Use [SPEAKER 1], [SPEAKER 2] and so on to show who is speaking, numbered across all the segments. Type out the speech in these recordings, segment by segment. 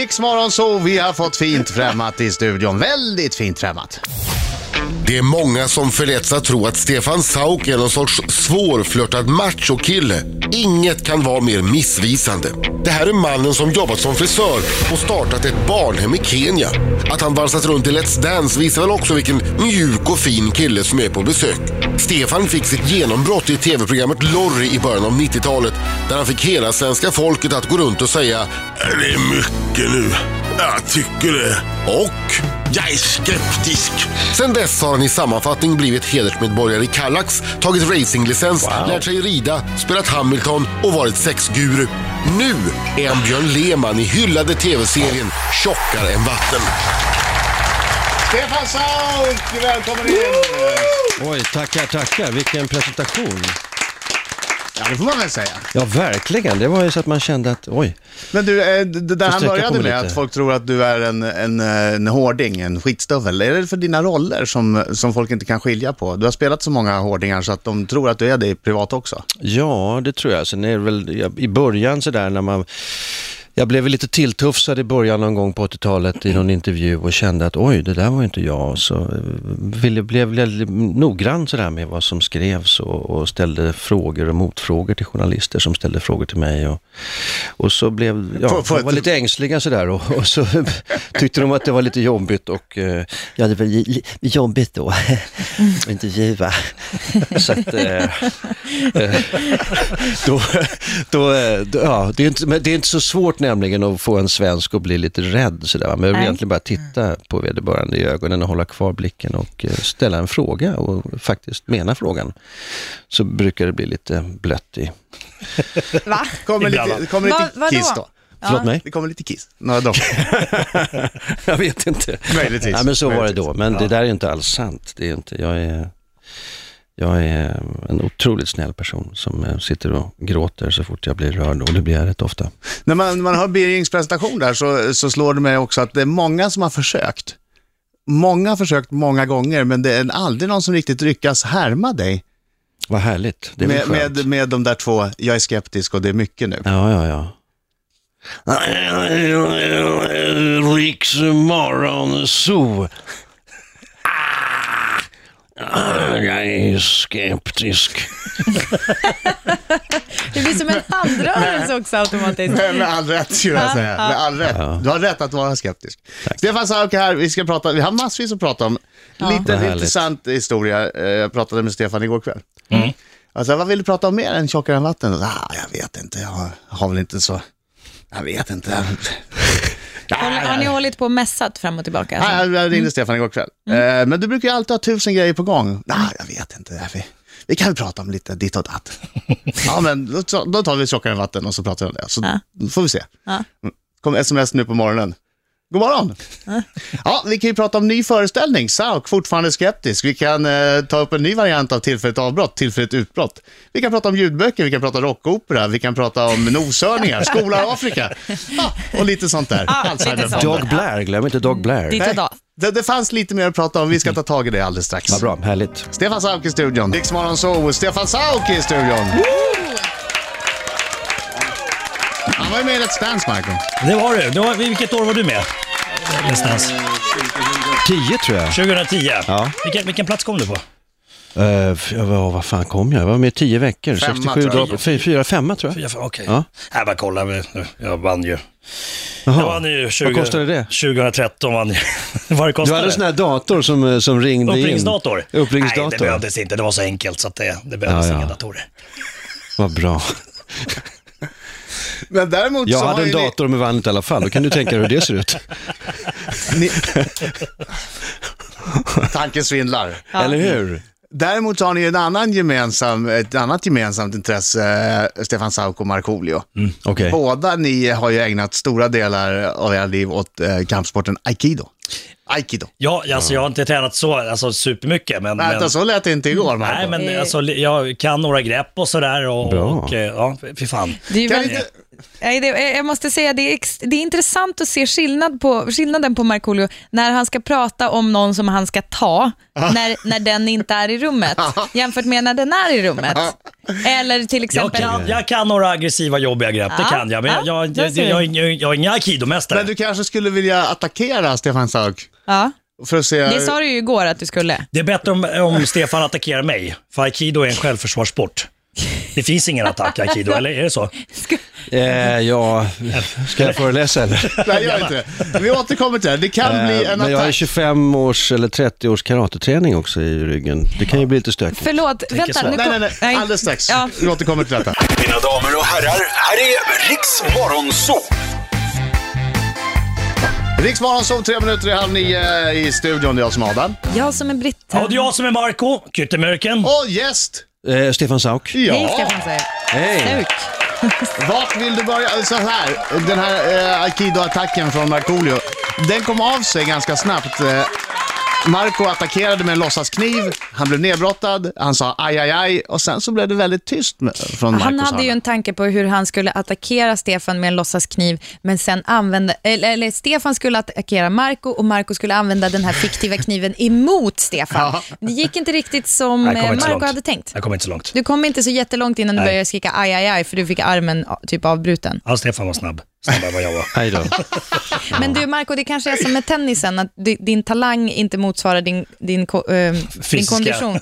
[SPEAKER 1] Riksmorgon så vi har fått fint främmat i studion. Väldigt fint främmat.
[SPEAKER 2] Det är många som förletts att tro att Stefan Sauk är någon sorts svårflörtad machokille. Inget kan vara mer missvisande. Det här är mannen som jobbat som frisör och startat ett barnhem i Kenya. Att han valsat runt i Let's Dance visar väl också vilken mjuk och fin kille som är på besök. Stefan fick sitt genombrott i tv-programmet Lorry i början av 90-talet där han fick hela svenska folket att gå runt och säga Det är mycket nu. Jag tycker det. Och jag är skeptisk. Sen dess har han i sammanfattning blivit hedersmedborgare i Kallax, tagit racinglicens, lärt sig rida, spelat Hamilton och varit sexguru. Nu är han Björn Lehmann i hyllade tv-serien Tjockare än vatten.
[SPEAKER 1] Stefan Sauk, välkommen in!
[SPEAKER 3] Oj, tackar, tackar. Vilken presentation.
[SPEAKER 1] Ja, det får man väl säga.
[SPEAKER 3] Ja, verkligen. Det var ju så att man kände att, oj.
[SPEAKER 1] Men du, eh, d- det där
[SPEAKER 3] Får
[SPEAKER 1] han
[SPEAKER 3] sträcka på
[SPEAKER 1] började
[SPEAKER 3] mig
[SPEAKER 1] med,
[SPEAKER 3] lite.
[SPEAKER 1] att folk tror att du är en, en, eh, en hårding, en skitstövel. Är det för dina roller som, som folk inte kan skilja på? Du har spelat så många hårdingar så att de tror att du är det privat också.
[SPEAKER 3] Ja, det tror jag. Sen är det väl jag, i början så där när man... Jag blev väl lite tilltufsad i början någon gång på 80-talet i någon intervju och kände att oj, det där var ju inte jag. Så eh, ville, blev jag li- noggrann sådär med vad som skrevs och, och ställde frågor och motfrågor till journalister som ställde frågor till mig. Och, och så blev, ja,
[SPEAKER 1] Får- får
[SPEAKER 3] de var
[SPEAKER 1] jag-
[SPEAKER 3] lite ängsliga sådär och, och så tyckte de att det var lite jobbigt och eh,
[SPEAKER 4] Ja, det var li- li- jobbigt då att intervjua.
[SPEAKER 3] Så att, eh, eh, då, då, eh, då, ja, det, är inte, men det är inte så svårt nämligen att få en svensk att bli lite rädd. Så där, va? man behöver
[SPEAKER 5] Nej.
[SPEAKER 3] egentligen bara titta på vederbörande i ögonen och hålla kvar blicken och eh, ställa en fråga och faktiskt mena frågan. Så brukar det bli lite blött i...
[SPEAKER 5] Va?
[SPEAKER 1] Kommer lite, kommer
[SPEAKER 5] Va-
[SPEAKER 1] lite
[SPEAKER 5] vadå?
[SPEAKER 1] kiss då.
[SPEAKER 3] Förlåt mig?
[SPEAKER 1] Det kommer lite kiss. Några dockor.
[SPEAKER 3] Jag vet inte.
[SPEAKER 1] Möjligtvis.
[SPEAKER 3] Ja, men så var det
[SPEAKER 1] Möjligtvis.
[SPEAKER 3] då. Men det där är inte alls sant. Det är inte, jag, är, jag är en otroligt snäll person som eh, sitter och gråter så fort jag blir rörd och det blir jag rätt ofta.
[SPEAKER 1] När man, när man hör Birgings presentation där så, så slår det mig också att det är många som har försökt. Många har försökt många gånger, men det är aldrig någon som riktigt lyckas härma dig
[SPEAKER 3] Vad härligt. Det är
[SPEAKER 1] med,
[SPEAKER 3] väl skönt.
[SPEAKER 1] med, med de där två, jag är skeptisk och det är mycket nu.
[SPEAKER 3] Ja, ja, ja. Riks morgonzoo. Ah, Jag är skeptisk.
[SPEAKER 5] Det blir som en handrörelse också automatiskt.
[SPEAKER 1] Med all rätt skulle jag säga. Med all rätt. Du har rätt att vara skeptisk. Stefan Sauk här, vi, ska prata, vi har massvis att prata om. Lite
[SPEAKER 3] Vad härligt.
[SPEAKER 1] intressant historia, Eh, jag pratade med Stefan igår kväll.
[SPEAKER 3] Mm.
[SPEAKER 1] Alltså, vad vill du prata om mer än tjockare än vatten? Ah, jag vet inte, jag har, har väl inte så... Jag vet inte. Ja,
[SPEAKER 5] Har, har ni hållit på och mässat fram och tillbaka? Mm. Alltså?
[SPEAKER 1] Ah, jag ringde Stefan igår kväll. Eh, men du brukar ju alltid ha tusen grejer på gång. Nej, jag vet inte. Vi, vi kan väl prata om lite ditt och datt. ja, men då, ta- då tar vi tjockare än vatten och så pratar vi om det. Så får vi se.
[SPEAKER 5] Ja.
[SPEAKER 1] Mm. Kom sms nu på morgonen. God morgon! Ja, vi kan ju prata om ny föreställning. Sauk, fortfarande skeptisk. Vi kan eh, ta upp en ny variant av tillfälligt avbrott, tillfälligt utbrott. Vi kan prata om ljudböcker, vi kan prata rockopera, vi kan prata om noshörningar, skola i Afrika ja, och lite sånt där.
[SPEAKER 5] Ja, lite
[SPEAKER 1] Alzheimerfonden.
[SPEAKER 5] sånt.
[SPEAKER 3] Dog Blair, glöm inte Dog Blair.
[SPEAKER 5] Ditt och datt.
[SPEAKER 1] Det, det fanns lite mer att prata om. Vi ska ta tag i det alldeles strax.
[SPEAKER 3] Vad bra, härligt.
[SPEAKER 1] Stefan Sauk i studion. Riksmorgon Zoo, Stefan Sauk i studion. Han var ju med i Let's Dance, Michael.
[SPEAKER 6] Det var du. Det var, vilket år var du med? Någonstans.
[SPEAKER 3] 10 tror jag.
[SPEAKER 6] 2010.
[SPEAKER 3] Ja.
[SPEAKER 6] Vilken, vilken plats kom du på?
[SPEAKER 3] Eh, f- jag var, vad fan kom jag? Jag var med i 10 veckor.
[SPEAKER 1] Femma,
[SPEAKER 3] 67
[SPEAKER 1] tror jag.
[SPEAKER 3] dagar. Fy- Fyra, femma tror jag.
[SPEAKER 6] Fyra, fem, Okej.
[SPEAKER 3] Ja.
[SPEAKER 6] Jag bara kollar. men nu, Jag vann ju. Jag vann
[SPEAKER 3] Jaha.
[SPEAKER 6] ju 20,
[SPEAKER 3] Vad kostade det?
[SPEAKER 6] 2013 vann jag. Vad det
[SPEAKER 3] Du
[SPEAKER 6] kostade?
[SPEAKER 3] hade en sån här dator som, eh, som ringde in.
[SPEAKER 6] Uppringningsdator?
[SPEAKER 3] Uppringningsdator.
[SPEAKER 6] Nej, det behövdes inte. Det var så enkelt så att det, det behövdes
[SPEAKER 3] Ja, ja.
[SPEAKER 6] inga datorer.
[SPEAKER 3] Vad bra.
[SPEAKER 1] Men däremot
[SPEAKER 3] Jag
[SPEAKER 1] så har
[SPEAKER 3] hade en
[SPEAKER 1] ju ni-
[SPEAKER 3] dator men vann inte i alla fall. Då kan du tänka dig hur det ser ut.
[SPEAKER 1] Ni... Tanken svindlar.
[SPEAKER 3] Eller hur?
[SPEAKER 1] Däremot så har ni ju en annan gemensam, ett annat gemensamt intresse, eh, Stefan Sauk och Markoolio.
[SPEAKER 3] Mm. Okej.
[SPEAKER 1] Båda ni har ju ägnat stora delar av era liv åt eh, kampsporten aikido. Aikido.
[SPEAKER 6] Ja, alltså, jag har inte tränat så alltså, supermycket. Men, men...
[SPEAKER 1] Vänta, så lät det inte igår, Marko.
[SPEAKER 6] Nej, men
[SPEAKER 5] Eh.
[SPEAKER 6] alltså, li- jag kan några grepp och sådär. Och,
[SPEAKER 3] Bra.
[SPEAKER 6] och, eh, ja, fy fan.
[SPEAKER 5] Det är ju
[SPEAKER 1] Kan
[SPEAKER 5] väldigt...
[SPEAKER 1] inte-
[SPEAKER 5] Nej, det, jag jag måste säga, det är, ex, det är intressant att se skillnad på, skillnaden på Markoolio när han ska prata om någon som han ska ta, när, när den inte är i rummet, jämfört med när den är i rummet. Eller till
[SPEAKER 6] Jag
[SPEAKER 5] exempel...
[SPEAKER 6] kan, jag kan några aggressiva jobbiga grepp, det
[SPEAKER 5] Ja,
[SPEAKER 6] kan jag. Men
[SPEAKER 5] ja,
[SPEAKER 6] jag, jag,
[SPEAKER 5] där
[SPEAKER 6] jag,
[SPEAKER 5] ser
[SPEAKER 6] jag, jag, jag är ingen aikidomästare.
[SPEAKER 1] Men du kanske skulle vilja attackera Stefan Sauk?
[SPEAKER 5] Ja.
[SPEAKER 1] För att se...
[SPEAKER 5] Det sa du ju igår att du skulle.
[SPEAKER 6] Det är bättre om, om Stefan attackerar mig, för aikido är en självförsvarssport. Det finns ingen attack i aikido, eller är det så?
[SPEAKER 3] Eh, ja, ska jag föreläsa eller?
[SPEAKER 1] Nej, gör inte det. Vi återkommer till det. Det kan bli
[SPEAKER 3] Eh,
[SPEAKER 1] en
[SPEAKER 3] men jag har
[SPEAKER 1] attack.
[SPEAKER 3] 25 års eller 30 års karateträning också i ryggen. Det kan ju bli lite stökigt.
[SPEAKER 5] Förlåt, vänta.
[SPEAKER 6] så.
[SPEAKER 5] Nu
[SPEAKER 1] Nej,
[SPEAKER 5] kom-
[SPEAKER 1] nej, nej. Alldeles strax.
[SPEAKER 5] Ja.
[SPEAKER 1] Vi återkommer till detta.
[SPEAKER 7] Mina damer och herrar, här är Riks Morgonzoo!
[SPEAKER 1] Riksmorgon sov tre minuter i halv nio i studion. Det är jag som är Adam.
[SPEAKER 5] Jag som är britt.
[SPEAKER 6] Ja, och det är jag som är Marco, Kyttemörken.
[SPEAKER 1] Och gäst!
[SPEAKER 3] Eh, Stefan Sauk.
[SPEAKER 5] Hej
[SPEAKER 1] Ja,
[SPEAKER 5] Stefan säger
[SPEAKER 3] Hej!
[SPEAKER 5] Stuk.
[SPEAKER 1] vart vill du börja? Så här, den här eh, Aikido-attacken från Markoolio, den kom av sig ganska snabbt. Eh, Marco attackerade med en låtsaskniv, han blev nedbrottad, han sa aj, aj, aj och sen så blev det väldigt tyst med, från Marcos
[SPEAKER 5] Han hade ju
[SPEAKER 1] sida.
[SPEAKER 5] en tanke på hur han skulle attackera Stefan med en låtsaskniv, men sen använda, eller, eller Stefan skulle attackera Marco och Marco skulle använda den här fiktiva kniven emot Stefan. Det gick inte riktigt som
[SPEAKER 6] Jag kommer
[SPEAKER 5] eh,
[SPEAKER 6] inte så
[SPEAKER 5] Marco
[SPEAKER 6] långt.
[SPEAKER 5] hade tänkt.
[SPEAKER 6] Jag kommer inte så långt.
[SPEAKER 5] Du kom inte så jättelångt innan du
[SPEAKER 6] Nej.
[SPEAKER 5] började skrika aj, aj, aj, för du fick armen ah, typ avbruten.
[SPEAKER 6] Ja, Stefan var snabb. Snabbare än vad jag var.
[SPEAKER 3] Hej då.
[SPEAKER 5] Men du Marco, det kanske är som med tennisen, att di- din talang inte motsvarar din, din, ko- eh, din
[SPEAKER 6] Fysiska.
[SPEAKER 5] kondition.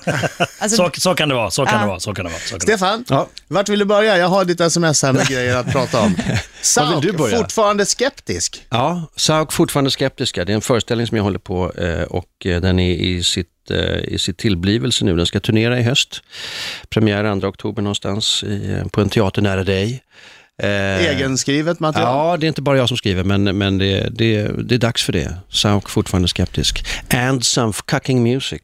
[SPEAKER 5] Alltså,
[SPEAKER 6] Så, så kan det vara, så kan
[SPEAKER 5] Ja.
[SPEAKER 6] det vara, så kan det vara. Så kan det vara.
[SPEAKER 1] Stefan,
[SPEAKER 3] Ja.
[SPEAKER 1] vart vill du börja? Jag har ditt sms här med grejer att prata om. Sauk,
[SPEAKER 3] du börja?
[SPEAKER 1] fortfarande skeptisk.
[SPEAKER 3] Ja, Sauk fortfarande skeptiska. Det är en föreställning som jag håller på eh, och eh, den är i sitt, eh, i sitt tillblivelse nu. Den ska turnera i höst. Premiär 2 oktober någonstans i, eh, på en teater nära dig. Eh,
[SPEAKER 1] Egenskrivet material.
[SPEAKER 3] Ja, det är inte bara jag som skriver, men, men det, det, det är dags för det. Sauk fortfarande skeptisk. And some fucking music.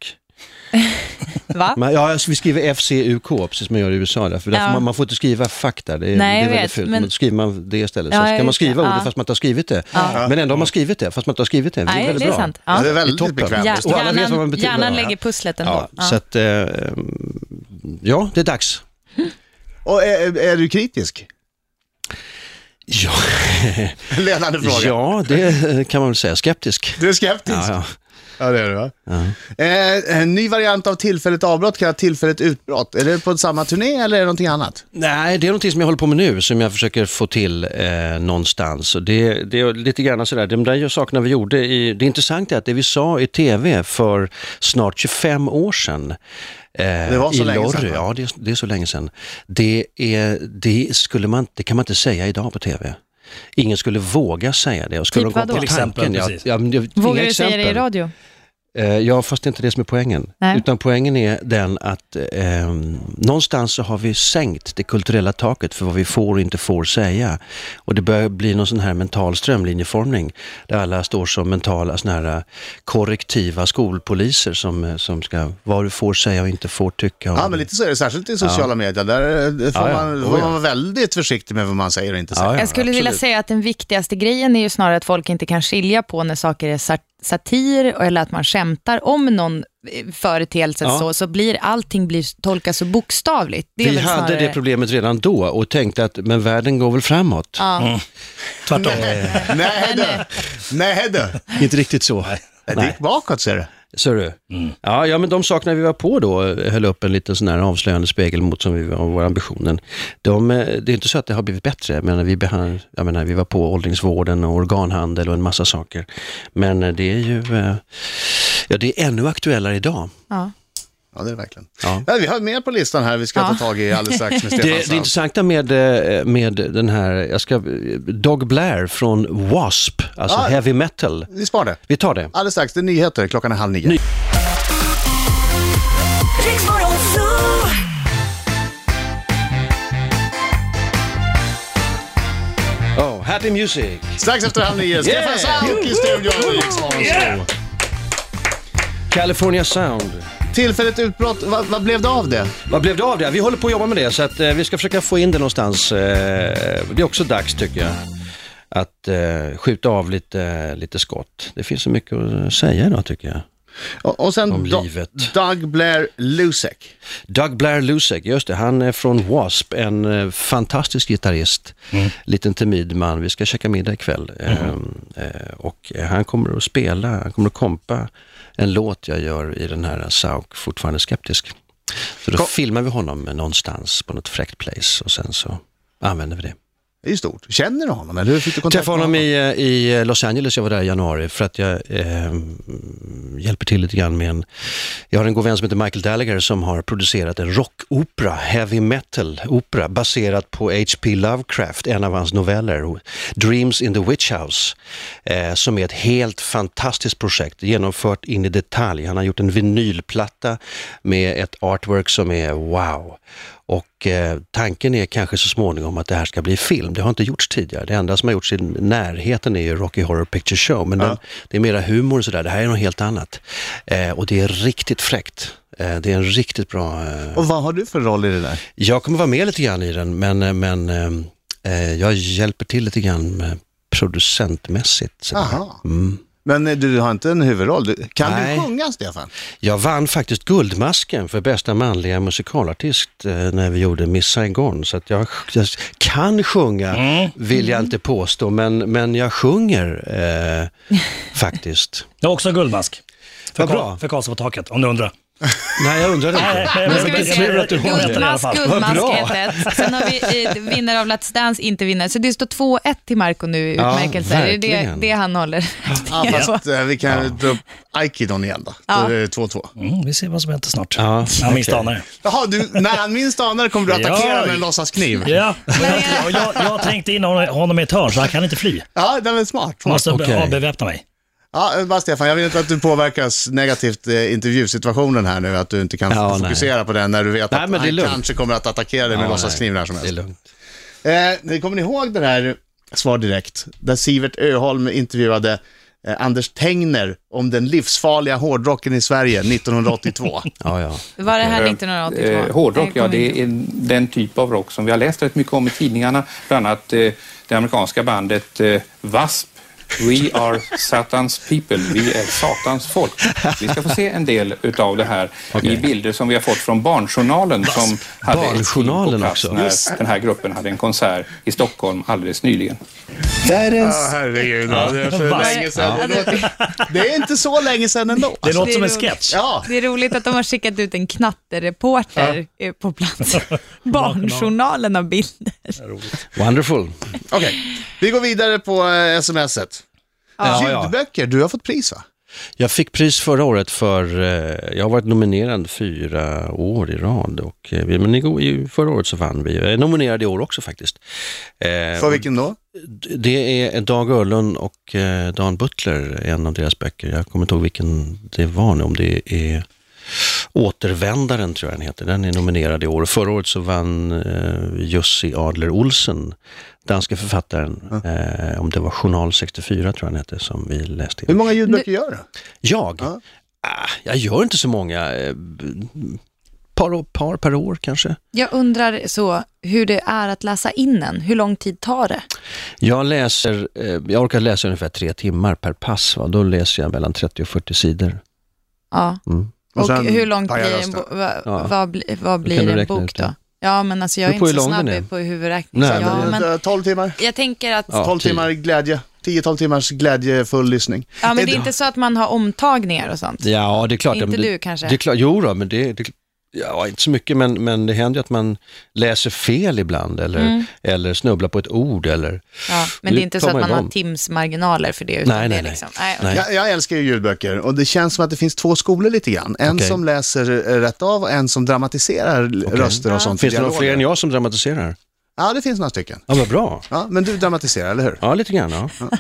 [SPEAKER 5] va?
[SPEAKER 3] Men, ja, alltså, vi skriver FCUK, precis som man gör i USA. Där, för där
[SPEAKER 5] Ja.
[SPEAKER 3] får man, man får inte skriva fuck där, det är,
[SPEAKER 5] Nej, jag
[SPEAKER 3] det är väldigt
[SPEAKER 5] vet,
[SPEAKER 3] fult.
[SPEAKER 5] men-
[SPEAKER 3] Men... Då skriver man det istället.
[SPEAKER 5] Ja,
[SPEAKER 3] så
[SPEAKER 5] just
[SPEAKER 3] kan
[SPEAKER 5] det.
[SPEAKER 3] man skriva
[SPEAKER 5] Ja.
[SPEAKER 3] ordet fast man inte har skrivit det. Men ändå har man skrivit det, fast man inte har skrivit det. Det är
[SPEAKER 5] Nej,
[SPEAKER 3] väldigt
[SPEAKER 5] det är
[SPEAKER 3] bra.
[SPEAKER 5] sant.
[SPEAKER 1] Ja,
[SPEAKER 5] Ja.
[SPEAKER 1] det är
[SPEAKER 3] Det är
[SPEAKER 1] väldigt
[SPEAKER 3] toppen.
[SPEAKER 1] bekvämt.
[SPEAKER 5] Ja,
[SPEAKER 3] Och alla vet vad man
[SPEAKER 5] hjärnan,
[SPEAKER 3] betyder.
[SPEAKER 5] hjärnan
[SPEAKER 3] Ja.
[SPEAKER 5] lägger pusslet ändå.
[SPEAKER 3] Ja,
[SPEAKER 5] Ja.
[SPEAKER 3] Så att, eh, ja, det är dags.
[SPEAKER 1] Och är, är du kritisk?
[SPEAKER 3] Ja,
[SPEAKER 1] Ledande fråga.
[SPEAKER 3] ja det eh, kan man väl säga. Skeptisk.
[SPEAKER 1] Du är skeptisk?
[SPEAKER 3] Ja, ja.
[SPEAKER 1] Ja, det är du va? Eh, en ny variant av tillfälligt avbrott kan jag tillfälligt utbrott. Är det på samma turné eller är det någonting annat?
[SPEAKER 3] Nej, det är någonting som jag håller på med nu som jag försöker få till eh, någonstans. Och Det, det är lite grann sådär, de där sakerna vi gjorde, i, det intressanta är att det vi sa i tv för snart 25 år sedan eh,
[SPEAKER 1] Det var så
[SPEAKER 3] i
[SPEAKER 1] länge
[SPEAKER 3] Lorry,
[SPEAKER 1] sedan, va?
[SPEAKER 3] ja det är, det är så länge sedan. Det, är, det, skulle man, det kan man inte säga idag på tv. Ingen skulle våga säga det. Och skulle
[SPEAKER 5] Typ
[SPEAKER 3] de
[SPEAKER 5] vadå?
[SPEAKER 3] gå på
[SPEAKER 6] Till exempel,
[SPEAKER 3] tanken, ja,
[SPEAKER 6] precis.
[SPEAKER 3] ja, men det-
[SPEAKER 5] Vågar
[SPEAKER 3] inga
[SPEAKER 5] du säga det i
[SPEAKER 3] exempel.
[SPEAKER 5] radio?
[SPEAKER 3] Eh, Ja, fast det är inte det som är poängen.
[SPEAKER 5] Nej.
[SPEAKER 3] Utan poängen är den att eh, någonstans så har vi sänkt det kulturella taket för vad vi får och inte får säga. Och det börjar bli någon sån här mental strömlinjeformning där alla står som mentala sån här eh, korrektiva skolpoliser som, eh, som ska, vad du får säga och inte får tycka. Och,
[SPEAKER 1] Ja, men lite så är det, särskilt i sociala medier. Där eh, får
[SPEAKER 3] Ja, ja.
[SPEAKER 1] man,
[SPEAKER 3] Oh,
[SPEAKER 1] får
[SPEAKER 3] ja.
[SPEAKER 1] man vara väldigt försiktig med vad man säger och inte säger.
[SPEAKER 3] Ja, ja,
[SPEAKER 5] Jag skulle vilja
[SPEAKER 3] absolut.
[SPEAKER 5] säga att den viktigaste grejen är ju snarare att folk inte kan skilja på när saker är sat- satir eller att man skämtar om någon eh, företeelse
[SPEAKER 3] Ja.
[SPEAKER 5] så, så blir allting blir, tolkas så bokstavligt. Det är
[SPEAKER 3] Vi
[SPEAKER 5] väl
[SPEAKER 3] hade
[SPEAKER 5] snarare...
[SPEAKER 3] det problemet redan då och tänkte att men världen går väl framåt.
[SPEAKER 6] Tvärtom.
[SPEAKER 1] Nej du! Nej du!
[SPEAKER 3] Inte riktigt så.
[SPEAKER 1] Nej, Det gick bakåt ser du.
[SPEAKER 3] Så du? Ja, ja, men de sakerna vi var på då, höll upp en liten sån här avslöjande spegel mot som vi var vår ambitionen. De, eh, det är inte så att det har blivit bättre. Jag menar, vi, behand, jag menar, vi var på åldringsvården och organhandel och en massa saker. Men eh, det är ju eh, ja, det är ännu aktuellare idag.
[SPEAKER 5] Ja.
[SPEAKER 1] Ja, det är det verkligen. Ja.
[SPEAKER 3] Ja.
[SPEAKER 1] vi har mer på listan här vi ska
[SPEAKER 5] Ja.
[SPEAKER 1] ta tag i alldeles strax med Stefan
[SPEAKER 3] Det, det
[SPEAKER 1] Sauk.
[SPEAKER 3] intressanta med, eh, med den här, jag ska, Dog Blair från W.A.S.P., alltså
[SPEAKER 1] Ja.
[SPEAKER 3] heavy metal.
[SPEAKER 1] Vi sparar det.
[SPEAKER 3] Vi tar det.
[SPEAKER 1] Alldeles strax, det är nyheter. Klockan är halv nio.
[SPEAKER 8] Riks Morgonzoo!
[SPEAKER 3] Oh, happy music!
[SPEAKER 1] Strax efter halv nio, Stefan Sauk i studion. i Riksmorgon Zoo.
[SPEAKER 3] California Sound.
[SPEAKER 1] Tillfälligt utbrott, vad, vad blev det av det?
[SPEAKER 3] Vad blev det av det? Vi håller på att jobba med det så att eh, vi ska försöka få in det någonstans. Eh, det är också dags tycker jag. Att eh, skjuta av lite, lite skott. Det finns så mycket att säga idag tycker jag.
[SPEAKER 1] Och, och sen
[SPEAKER 3] Om
[SPEAKER 1] Do-
[SPEAKER 3] livet.
[SPEAKER 1] Doug Blair Lusek.
[SPEAKER 3] Doug Blair Lusek, just det, han är från W.A.S.P. En eh, fantastisk gitarrist. Liten timid man. Vi ska käka middag ikväll. Eh, eh, och eh, han kommer att spela, han kommer att kompa en låt jag gör i den här Sauk, fortfarande eh, skeptisk. Så då filmar vi honom någonstans på något fräckt place och sen så använder vi det.
[SPEAKER 1] Det är ju stort. Känner du honom eller hur fick du
[SPEAKER 3] Jag
[SPEAKER 1] kontakt
[SPEAKER 3] träffade honom i, eh, i Los Angeles, jag var där i januari för att jag eh, hjälper till lite grann med en... Jag har en god vän som heter Michael Gallagher som har producerat en rockopera, heavy metal-opera baserat på H.P. Lovecraft, en av hans noveller, Dreams in the Witch House, eh, som är ett helt fantastiskt projekt, genomfört in i detalj. Han har gjort en vinylplatta med ett artwork som är wow. Och eh, tanken är kanske så småningom att det här ska bli film. Det har inte gjorts tidigare. Det enda som har gjorts i närheten är ju Rocky Horror Picture Show. Men den, det är mera humor och sådär. Det här är något helt annat. Eh, och det är riktigt fräckt. Eh, det är en riktigt bra... Eh...
[SPEAKER 1] Och vad har du för roll i det där?
[SPEAKER 3] Jag kommer vara med lite grann i den, men, eh, men eh, eh, jag hjälper till lite grann med producentmässigt. sådär.
[SPEAKER 1] Aha. Men eh, du har inte en huvudroll. Du, kan
[SPEAKER 3] Nej.
[SPEAKER 1] du sjunga, Stefan?
[SPEAKER 3] Jag vann faktiskt Guldmasken för bästa manliga musikalartist eh, när vi gjorde Miss Saigon. Så att jag, jag kan sjunga, vill jag inte påstå, men, men jag sjunger eh, faktiskt.
[SPEAKER 6] Jag har också en guldmask. För,
[SPEAKER 3] Vad
[SPEAKER 6] Karl-
[SPEAKER 3] bra.
[SPEAKER 6] för Karlsson på taket, om du undrar.
[SPEAKER 3] Nej, jag undrar
[SPEAKER 6] Nej,
[SPEAKER 3] inte.
[SPEAKER 6] nej,
[SPEAKER 5] Nu
[SPEAKER 6] men
[SPEAKER 5] ska vi
[SPEAKER 6] jag
[SPEAKER 5] se.
[SPEAKER 6] tror att du har rätt i alla
[SPEAKER 5] Guldmask,
[SPEAKER 6] fall. Vad
[SPEAKER 5] guldmask
[SPEAKER 3] bra.
[SPEAKER 5] är ett. Sen har vi eh, vinnare av Let's Dance, inte vinnare. Så det står 2-1 till Marco nu i
[SPEAKER 3] Ja,
[SPEAKER 5] utmärkelser. Det är det,
[SPEAKER 3] verkligen.
[SPEAKER 5] det han håller.
[SPEAKER 1] Ja, fast eh, vi kan dra upp Aikidon igen då. Då är det 2-2.
[SPEAKER 6] Mm, vi ser vad som händer snart.
[SPEAKER 3] Ja,
[SPEAKER 6] jag minst
[SPEAKER 3] okej.
[SPEAKER 6] anar det.
[SPEAKER 1] Jaha, du, när han minst anar kommer du attackera
[SPEAKER 6] Ja.
[SPEAKER 1] med en låtsaskniv.
[SPEAKER 6] Ja, men jag, jag, jag tänkte in honom- honom i ett hörn så han kan inte fly.
[SPEAKER 1] Ja, den är smart.
[SPEAKER 6] Jag
[SPEAKER 1] smart.
[SPEAKER 6] måste
[SPEAKER 3] Okej.
[SPEAKER 6] okay. avbeväpna mig.
[SPEAKER 1] Ja, eh, bara Stefan, jag vill inte att du påverkas negativt eh, intervjusituationen här nu, att du inte kan
[SPEAKER 3] Ja, nej.
[SPEAKER 1] fokusera på den när du vet
[SPEAKER 3] Nej,
[SPEAKER 1] att
[SPEAKER 3] men det är
[SPEAKER 1] han
[SPEAKER 3] lugnt.
[SPEAKER 1] kanske kommer att attackera dig med
[SPEAKER 3] Ja,
[SPEAKER 1] låtsaskniv
[SPEAKER 3] nej,
[SPEAKER 1] när som
[SPEAKER 3] Det är
[SPEAKER 1] helst.
[SPEAKER 3] lugnt.
[SPEAKER 1] Eh, kommer ni ihåg det här Svar direkt, där Sivert Öholm intervjuade eh, Anders Tengner om den livsfarliga hårdrocken i Sverige 1982?
[SPEAKER 3] Ja, ja.
[SPEAKER 5] Var det här 1982?
[SPEAKER 9] Eh, hårdrock,
[SPEAKER 5] Nej,
[SPEAKER 9] ja,
[SPEAKER 5] kom inte.
[SPEAKER 9] det är den typ av rock som vi har läst rätt mycket om i tidningarna. Bland annat eh, det amerikanska bandet eh, W.A.S.P. We are Satans people, vi är Satans folk. Vi ska få se en del utav det här i bilder som vi har fått från Barnjournalen som hade ett team på
[SPEAKER 3] Barnjournalen
[SPEAKER 9] plats
[SPEAKER 3] också.
[SPEAKER 9] när den här gruppen hade en konsert i Stockholm alldeles nyligen.
[SPEAKER 1] Ja, herregud. Ja, det är för
[SPEAKER 6] Vass.
[SPEAKER 1] länge sedan. Det, låter, det är inte så länge sedan ändå.
[SPEAKER 6] Det låter
[SPEAKER 5] det är
[SPEAKER 6] som en
[SPEAKER 5] roligt.
[SPEAKER 6] sketch.
[SPEAKER 1] Ja,
[SPEAKER 5] Det är roligt att de har skickat ut en knattereporter eh, på plats. Barnjournalen har bilder.
[SPEAKER 3] Wonderful.
[SPEAKER 1] okej. Vi går vidare på eh, smset.
[SPEAKER 3] Ja, ja.
[SPEAKER 1] Ljudböcker, du har fått pris va?
[SPEAKER 3] Jag fick pris förra året för, eh, jag har varit nominerad fyra år i rad och eh, vi- men i go- i- förra året så vann vi. Jag är nominerad i år också faktiskt. Eh,
[SPEAKER 1] För vilken då?
[SPEAKER 3] Det är Dag Örlund och eh, Dan Butler, en av deras böcker. Jag kommer inte ihåg vilken det var nu, om det är Återvändaren tror jag den heter. Den är nominerad i år. Förra året så vann eh, Jussi Adler Olsen, danska författaren, eh, om det var Journal 64 tror jag den hette, som vi läste
[SPEAKER 1] Hur
[SPEAKER 3] in.
[SPEAKER 1] många ljudböcker gör du?
[SPEAKER 3] Jag?
[SPEAKER 1] Mm. Ja.
[SPEAKER 3] Ah, jag gör inte så många. eh, b- Par, par per år kanske.
[SPEAKER 5] Jag undrar så hur det är att läsa in den. Hur lång tid tar det?
[SPEAKER 3] Jag läser, eh, jag orkar läsa ungefär tre timmar per pass. Va? Då läser jag mellan 30 och 40 sidor.
[SPEAKER 5] Ja.
[SPEAKER 3] Mm.
[SPEAKER 1] Och
[SPEAKER 5] Och,
[SPEAKER 1] sen
[SPEAKER 5] hur långt
[SPEAKER 1] pajar
[SPEAKER 5] blir en,
[SPEAKER 1] rösten.
[SPEAKER 5] bo- va,
[SPEAKER 3] Ja.
[SPEAKER 5] vad, bli, vad
[SPEAKER 3] kan du
[SPEAKER 5] blir en
[SPEAKER 3] räkna
[SPEAKER 5] bok
[SPEAKER 3] ut
[SPEAKER 5] då?
[SPEAKER 3] det.
[SPEAKER 5] Ja, men alltså jag är
[SPEAKER 3] Beror på hur
[SPEAKER 5] inte så
[SPEAKER 3] lång den
[SPEAKER 5] snabb
[SPEAKER 3] är.
[SPEAKER 5] på huvudräkning.
[SPEAKER 3] Nej,
[SPEAKER 5] ja,
[SPEAKER 3] men-
[SPEAKER 5] men,
[SPEAKER 1] 12 Eh, timmar.
[SPEAKER 5] jag tänker att
[SPEAKER 3] Ja,
[SPEAKER 1] 12
[SPEAKER 3] tio.
[SPEAKER 1] timmar glädje. 10-12 timmars glädjefull lyssning.
[SPEAKER 5] Ja, men det är inte så att man har omtagningar och sånt.
[SPEAKER 3] Ja, det är klart.
[SPEAKER 5] Inte
[SPEAKER 3] men det,
[SPEAKER 5] du, kanske?
[SPEAKER 3] Det är klart, jo då, men det, det ja, inte så mycket, men, men det händer ju att man läser fel ibland eller,
[SPEAKER 5] Mm.
[SPEAKER 3] eller snubblar på ett ord eller...
[SPEAKER 5] Ja, men det är inte
[SPEAKER 3] tar
[SPEAKER 5] så att man
[SPEAKER 3] ju
[SPEAKER 5] har
[SPEAKER 3] dem.
[SPEAKER 5] timsmarginaler för det. Utan
[SPEAKER 3] Nej, nej,
[SPEAKER 5] det är
[SPEAKER 3] nej.
[SPEAKER 5] liksom, nej.
[SPEAKER 3] Nej.
[SPEAKER 1] Jag, jag älskar ju ljudböcker och det känns som att det finns två skolor lite grann. En
[SPEAKER 3] Okej.
[SPEAKER 1] som läser eh, rätt av och en som dramatiserar l- röster och sånt. i
[SPEAKER 3] Finns det någon
[SPEAKER 1] dialoger.
[SPEAKER 3] fler än jag som dramatiserar?
[SPEAKER 1] Ja, det finns några stycken.
[SPEAKER 3] Ja, vad bra.
[SPEAKER 1] Ja, men du dramatiserar, eller hur?
[SPEAKER 3] Ja, lite grann. Ja.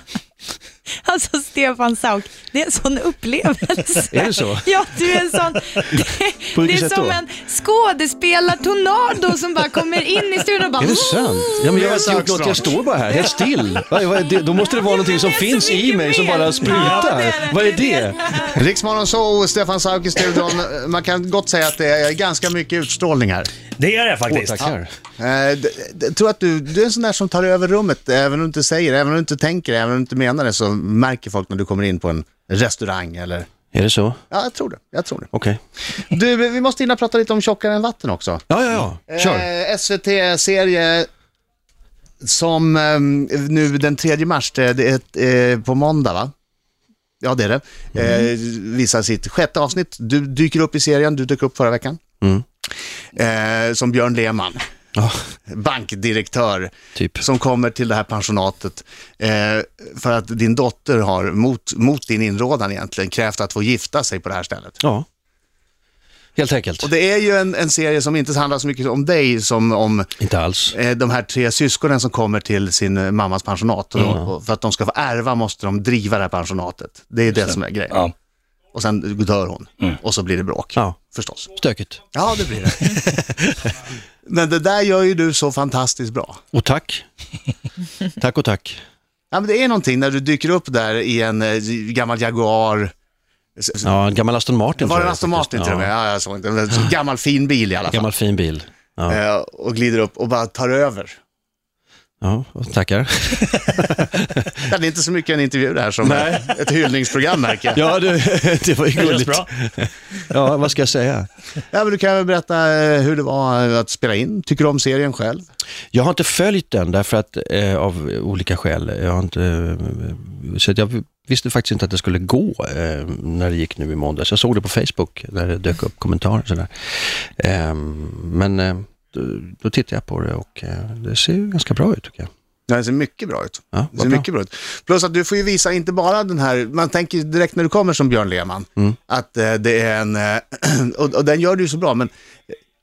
[SPEAKER 5] Alltså Stefan Sauk, det är en sån upplevelse.
[SPEAKER 3] Är det så?
[SPEAKER 5] Ja, du är en sån...
[SPEAKER 3] På
[SPEAKER 5] Det, det
[SPEAKER 3] vilket
[SPEAKER 5] är
[SPEAKER 3] sätt
[SPEAKER 5] som
[SPEAKER 3] då?
[SPEAKER 5] en skådespelartornado som bara kommer in i studion och bara...
[SPEAKER 3] Är det sant? Ja, men jag har inte gjort något, jag står bara här helt still. Vad- vad- det- Då måste det vara någonting som
[SPEAKER 5] Jag vet så
[SPEAKER 3] finns i
[SPEAKER 5] mycket
[SPEAKER 3] mig som
[SPEAKER 5] mer.
[SPEAKER 3] bara
[SPEAKER 5] Ja, det är
[SPEAKER 3] sprutar.
[SPEAKER 5] det.
[SPEAKER 3] Vad är
[SPEAKER 5] Det är
[SPEAKER 3] det?
[SPEAKER 1] Riksmorgon så Stefan Sauk i studion. Man kan gott säga att det är ganska mycket utstrålning här.
[SPEAKER 6] Det är det
[SPEAKER 3] Åh,
[SPEAKER 6] faktiskt.
[SPEAKER 3] tackar.
[SPEAKER 1] Eh, d- d- tror att du, du är en sån där som tar över rummet, även om du inte säger det, även om du inte tänker det, även om du inte menar det, så märker folk när du kommer in på en restaurang eller...
[SPEAKER 3] Är det så?
[SPEAKER 1] Ja, jag tror det. Jag tror det.
[SPEAKER 3] Okej.
[SPEAKER 1] Du, vi måste hinna prata lite om Tjockare än vatten också.
[SPEAKER 3] Ja, ja, ja. Kör.
[SPEAKER 1] Eh, SVT-serie som eh, nu den 3 mars, det det är ett, eh, på måndag va? Ja, det är
[SPEAKER 3] Mm.
[SPEAKER 1] det. Eh, visar sitt sjätte avsnitt. Du dyker upp i serien, du dök upp förra veckan.
[SPEAKER 3] Mm.
[SPEAKER 1] eh, som Björn Lehmann,
[SPEAKER 3] Ja,
[SPEAKER 1] bankdirektör,
[SPEAKER 3] typ.
[SPEAKER 1] som kommer till det här pensionatet eh, för att din dotter har, mot, mot din inrådan egentligen, krävt att få gifta sig på det här stället.
[SPEAKER 3] Ja. Helt enkelt.
[SPEAKER 1] Och det är ju en, en serie som inte handlar så mycket om dig som om
[SPEAKER 3] Inte alls.
[SPEAKER 1] eh, de här tre syskonen som kommer till sin eh, mammas pensionat. Och,
[SPEAKER 3] Mm.
[SPEAKER 1] och för att de ska få ärva måste de driva det här pensionatet. Det är det som är grejen.
[SPEAKER 6] Ja.
[SPEAKER 1] Och sen dör hon och så blir det bråk,
[SPEAKER 3] Mm. Ja.
[SPEAKER 1] förstås.
[SPEAKER 3] Stökigt.
[SPEAKER 1] Ja, det blir det. men det där gör ju du så fantastiskt bra.
[SPEAKER 3] Och tack. tack och tack.
[SPEAKER 1] Ja, men det är någonting när du dyker upp där i en eh, gammal Jaguar. S- s-
[SPEAKER 3] Ja, en gammal Aston Martin.
[SPEAKER 1] Var
[SPEAKER 3] tror
[SPEAKER 1] det en
[SPEAKER 3] jag
[SPEAKER 1] Aston
[SPEAKER 3] faktiskt.
[SPEAKER 1] Martin till och med?
[SPEAKER 3] Ja,
[SPEAKER 1] Ja, jag såg inte. Men en gammal fin bil i alla fall.
[SPEAKER 3] gammal fin bil. Ja,
[SPEAKER 1] Eh, Och glider upp och bara tar över.
[SPEAKER 3] ja och tackar.
[SPEAKER 1] Ja, det är inte så mycket en intervju det här som ett hyllningsprogram märker jag.
[SPEAKER 3] Ja, du, det var ju
[SPEAKER 6] Det känns
[SPEAKER 3] gulligt.
[SPEAKER 6] bra.
[SPEAKER 3] Ja, vad ska jag säga?
[SPEAKER 1] Ja, men du kan väl berätta eh, hur det var eh, att spela in. Tycker du om serien själv?
[SPEAKER 3] Jag har inte följt den därför att, eh, av olika skäl. Jag har inte, eh, så att jag visste faktiskt inte att det skulle gå eh, när det gick nu i måndags. Jag såg det på Facebook när det dök upp kommentarer och sådär. Eh, men eh, då, då tittade jag på det och eh, det ser ju ganska bra ut tycker jag.
[SPEAKER 1] Ja, det ser mycket bra ut.
[SPEAKER 3] Ja,
[SPEAKER 1] Det
[SPEAKER 3] vad
[SPEAKER 1] ser
[SPEAKER 3] bra.
[SPEAKER 1] mycket bra ut. Plus att du får ju visa inte bara den här, man tänker direkt när du kommer som Björn Lehmann, att eh, det är en, eh, och, och den gör du ju så bra, men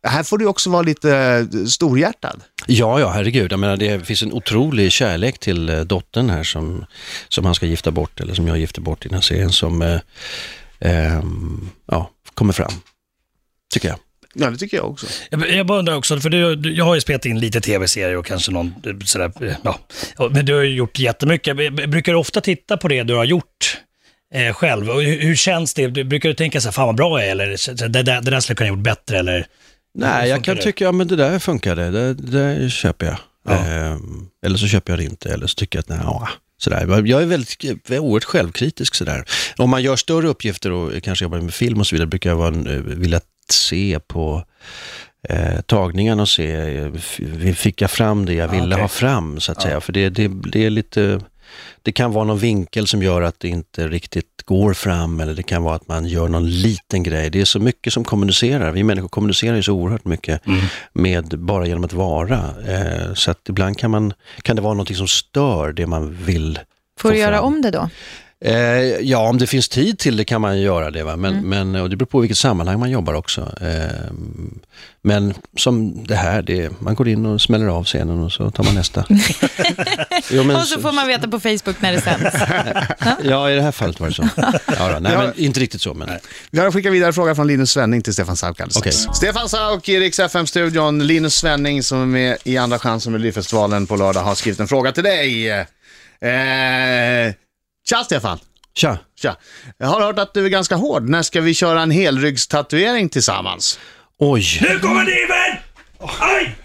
[SPEAKER 1] här får du också vara lite eh, storhjärtad.
[SPEAKER 3] Ja, ja, herregud. Jag menar, det finns en otrolig kärlek till eh, dottern här som, som han ska gifta bort, eller som jag gifter bort i den här serien, som eh, ehm, ja, kommer fram, tycker jag.
[SPEAKER 1] Ja, det tycker jag också.
[SPEAKER 6] Jag, jag bara undrar också, för du, du, jag har ju spelat in lite tv-serier och kanske någon eh, sådär, eh, ja. Ja, Men du har ju gjort jättemycket. B- b- Brukar du ofta titta på det du har gjort eh, själv? Och hur, hur känns det? Du- Brukar du tänka så här, fan vad bra jag är, eller så- så- det, där- det där skulle jag kunna gjort bättre, eller?
[SPEAKER 3] Nej, jag
[SPEAKER 6] Funkar
[SPEAKER 3] kan
[SPEAKER 6] det?
[SPEAKER 3] tycka, ja men det där funkade, det, det där köper jag.
[SPEAKER 6] Ja.
[SPEAKER 3] Ehm, eller så köper jag det inte, eller så tycker jag att nej, ja, sådär. Jag är väldigt, jag är oerhört självkritisk sådär. Om man gör större uppgifter och kanske jobbar med film och så vidare, brukar jag vara, en- eh, vilja se på eh, tagningen och se, eh, f- fick jag fram det jag ville
[SPEAKER 6] Ah, okej.
[SPEAKER 3] ha fram så att säga. För det, det, det är lite, det kan vara någon vinkel som gör att det inte riktigt går fram eller det kan vara att man gör någon liten grej. Det är så mycket som kommunicerar. Vi människor kommunicerar ju så oerhört mycket
[SPEAKER 5] Mm.
[SPEAKER 3] med bara genom att vara. Eh, så att ibland kan, man, kan det vara någonting som stör det man vill
[SPEAKER 5] Får
[SPEAKER 3] få
[SPEAKER 5] du göra
[SPEAKER 3] fram.
[SPEAKER 5] om det då?
[SPEAKER 3] Eh, ja, om det finns tid till det kan man ju göra det. Va? Men,
[SPEAKER 5] Mm.
[SPEAKER 3] men, och det beror på vilket sammanhang man jobbar också. Eh, men som det här, det, man går in och smäller av scenen och så tar man nästa. jo, men,
[SPEAKER 5] Och så får man veta på Facebook när det sänds.
[SPEAKER 3] Ja, i det här fallet var det så. Ja, då, nej, men inte riktigt så. Men,
[SPEAKER 1] Vi har skickat vidare en fråga från Linus Svenning till Stefan Sauk alldeles strax.
[SPEAKER 3] Okej.
[SPEAKER 1] Stefan Sauk i Rix FM-studion. Linus Svenning som är med i Andra chansen med Melodifestivalen på lördag har skrivit en fråga till dig. Eh, tja Stefan!
[SPEAKER 3] tja,
[SPEAKER 1] Tja. Jag har hört att du är ganska hård. När ska vi köra en helryggstatuering tillsammans?
[SPEAKER 3] oj.
[SPEAKER 6] Nu kommer kniven! Aj!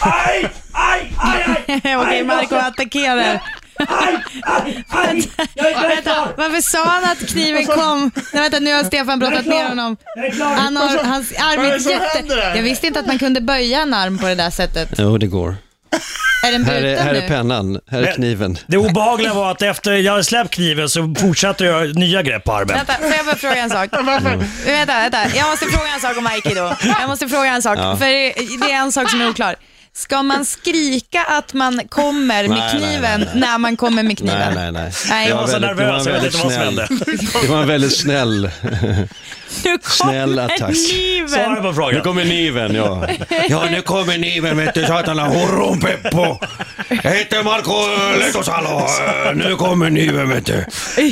[SPEAKER 6] Aj! Aj! Aj! Aj!
[SPEAKER 5] Okej, Marco attackerar.
[SPEAKER 6] Aj! Jag är
[SPEAKER 5] Vänta, varför sa han att kniven kom? Nej, vänta, nu har Stefan brottat ner honom. Han har, hans arm
[SPEAKER 1] Vad är
[SPEAKER 5] är
[SPEAKER 1] det som händer här?
[SPEAKER 5] jätte... Jag visste inte att man kunde böja en arm på det där sättet.
[SPEAKER 3] Jo, det går.
[SPEAKER 5] Är den
[SPEAKER 3] Här är,
[SPEAKER 5] bruten
[SPEAKER 3] här
[SPEAKER 5] nu?
[SPEAKER 3] är pennan, här är kniven.
[SPEAKER 6] Det obehagliga var att efter jag släppte kniven så fortsatte jag nya grepp på armen.
[SPEAKER 5] Vänta, får jag bara fråga en sak? vänta, vänta. Jag måste fråga en sak om aikido. Jag måste fråga en sak, för det är en sak som är oklar. Ska man skrika att man kommer med
[SPEAKER 3] Nej, nej,
[SPEAKER 5] kniven
[SPEAKER 3] nej, nej.
[SPEAKER 5] när man kommer med kniven?
[SPEAKER 3] Nej, nej, nej.
[SPEAKER 5] Nej,
[SPEAKER 3] Det
[SPEAKER 5] jag
[SPEAKER 3] var
[SPEAKER 5] var så
[SPEAKER 3] väldigt- det var
[SPEAKER 6] nervös, jag vet inte vad som
[SPEAKER 3] väldigt
[SPEAKER 6] hände.
[SPEAKER 3] snäll- Det var en väldigt snäll
[SPEAKER 5] Nu
[SPEAKER 3] Snälla,
[SPEAKER 5] kommer
[SPEAKER 3] tack.
[SPEAKER 5] kniven!
[SPEAKER 6] Svara på frågan.
[SPEAKER 3] kommer kniven, ja. Ja, nu kommer kniven, vet du satan. Horron Peppo. Jag heter Marco Lehtosalo. Nu kommer kniven, vet du.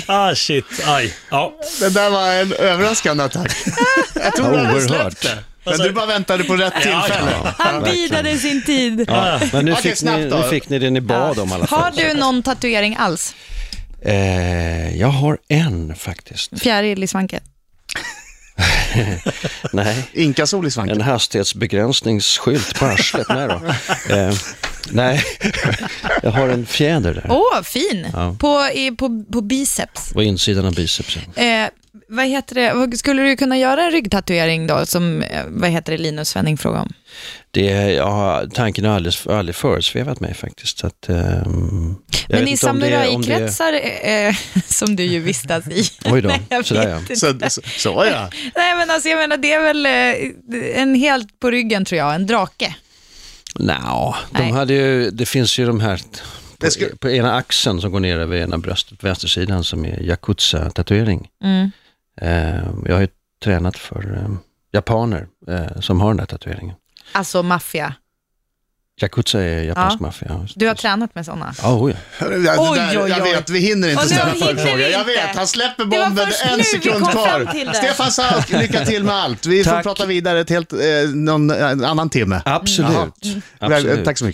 [SPEAKER 6] Ah shit, aj. Ja.
[SPEAKER 1] Det där var en överraskande attack. Jag tror du hade släppt det. Men du bara väntade på rätt tillfälle.
[SPEAKER 5] Han bidade sin tid.
[SPEAKER 3] Men nu
[SPEAKER 1] Okej,
[SPEAKER 3] fick, ni,
[SPEAKER 1] snabbt då.
[SPEAKER 3] nu fick ni det ni bad om i alla fall.
[SPEAKER 5] Har du någon tatuering alls?
[SPEAKER 3] Eh, jag har en faktiskt.
[SPEAKER 5] Fjäril i svanken?
[SPEAKER 3] Nej.
[SPEAKER 1] Inkasol i svanken.
[SPEAKER 3] En hastighetsbegränsningsskylt på arslet. Nej då. Eh, nej, jag har en fjäder där.
[SPEAKER 5] Åh, fin!
[SPEAKER 3] Ja.
[SPEAKER 5] På, i, på, på biceps.
[SPEAKER 3] På insidan av bicepsen.
[SPEAKER 5] Eh, vad heter det, vad- skulle du kunna göra en ryggtatuering då, som eh, vad heter det, Linus Svenning frågade om?
[SPEAKER 3] Det, jag har, tanken har aldrig, aldrig föresvävat mig faktiskt. Så att, ehm, jag vet
[SPEAKER 5] Men i
[SPEAKER 3] inte om det- om det-
[SPEAKER 5] samurajkretsar, eh, som du ju vistas i.
[SPEAKER 3] Oj då,
[SPEAKER 5] Nej, jag
[SPEAKER 3] sådär
[SPEAKER 5] vet
[SPEAKER 3] ja.
[SPEAKER 5] inte.
[SPEAKER 1] Så, så, så ja.
[SPEAKER 5] Nej, men alltså jag menar, det är väl eh, en helt på ryggen tror jag, en drake.
[SPEAKER 3] Nja, de
[SPEAKER 5] Nej.
[SPEAKER 3] hade ju, det finns ju de här på,
[SPEAKER 1] Det skulle-
[SPEAKER 3] på ena axeln som går ner över ena bröstet, vänstersidan, som är yakuza-tatuering.
[SPEAKER 5] Mm.
[SPEAKER 3] Eh, jag har ju tränat för eh, japaner eh, som har den där tatueringen.
[SPEAKER 5] Alltså maffia.
[SPEAKER 3] Yakuza är japansk
[SPEAKER 5] Ja.
[SPEAKER 3] maffia.
[SPEAKER 5] Du har tränat med sådana.
[SPEAKER 3] oh, Ja, oj.
[SPEAKER 1] Det där,
[SPEAKER 5] Oj,
[SPEAKER 1] oj,
[SPEAKER 5] oj,
[SPEAKER 1] Jag
[SPEAKER 5] oj.
[SPEAKER 1] vet, vi hinner inte
[SPEAKER 5] Och nu
[SPEAKER 1] ställa
[SPEAKER 5] hinner vi
[SPEAKER 1] följdfrågor. Jag
[SPEAKER 5] inte.
[SPEAKER 1] vet, han släpper
[SPEAKER 5] Det var
[SPEAKER 1] bomben
[SPEAKER 5] först nu
[SPEAKER 1] en
[SPEAKER 5] vi
[SPEAKER 1] sekund
[SPEAKER 5] kom fram
[SPEAKER 1] kvar.
[SPEAKER 5] till det.
[SPEAKER 1] Stefan Sauk, lycka till med allt. Vi får
[SPEAKER 3] Tack.
[SPEAKER 1] prata vidare ett helt, eh, någon eh, annan timme.
[SPEAKER 3] Absolut.
[SPEAKER 1] Jaha.
[SPEAKER 3] Absolut.
[SPEAKER 1] Tack så mycket.